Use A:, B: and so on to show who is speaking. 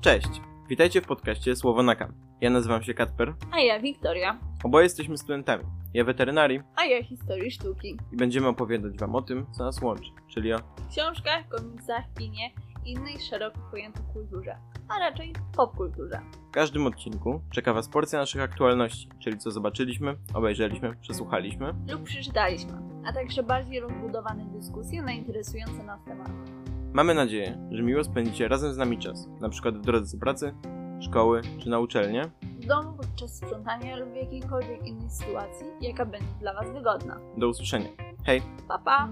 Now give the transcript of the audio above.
A: Cześć! Witajcie w podcaście Słowo na Kam. Ja nazywam się Katper,
B: A ja Wiktoria,
A: oboje jesteśmy studentami. Ja weterynarii
B: a ja historii sztuki.
A: i będziemy opowiadać wam o tym, co nas łączy, czyli o...
B: W książkach, komiksach, kinie i innej szeroko pojętej kulturze, a raczej popkulturze.
A: W każdym odcinku czeka was porcja naszych aktualności, czyli co zobaczyliśmy, obejrzeliśmy, przesłuchaliśmy.
B: Lub przeczytaliśmy, a także bardziej rozbudowane dyskusje na interesujące nas tematy.
A: Mamy nadzieję, że miło spędzicie razem z nami czas, na przykład w drodze do pracy, szkoły czy na uczelnię.
B: W domu podczas sprzątania lub w jakiejkolwiek innej sytuacji, jaka będzie dla Was wygodna.
A: Do usłyszenia. Hej!
B: Pa pa!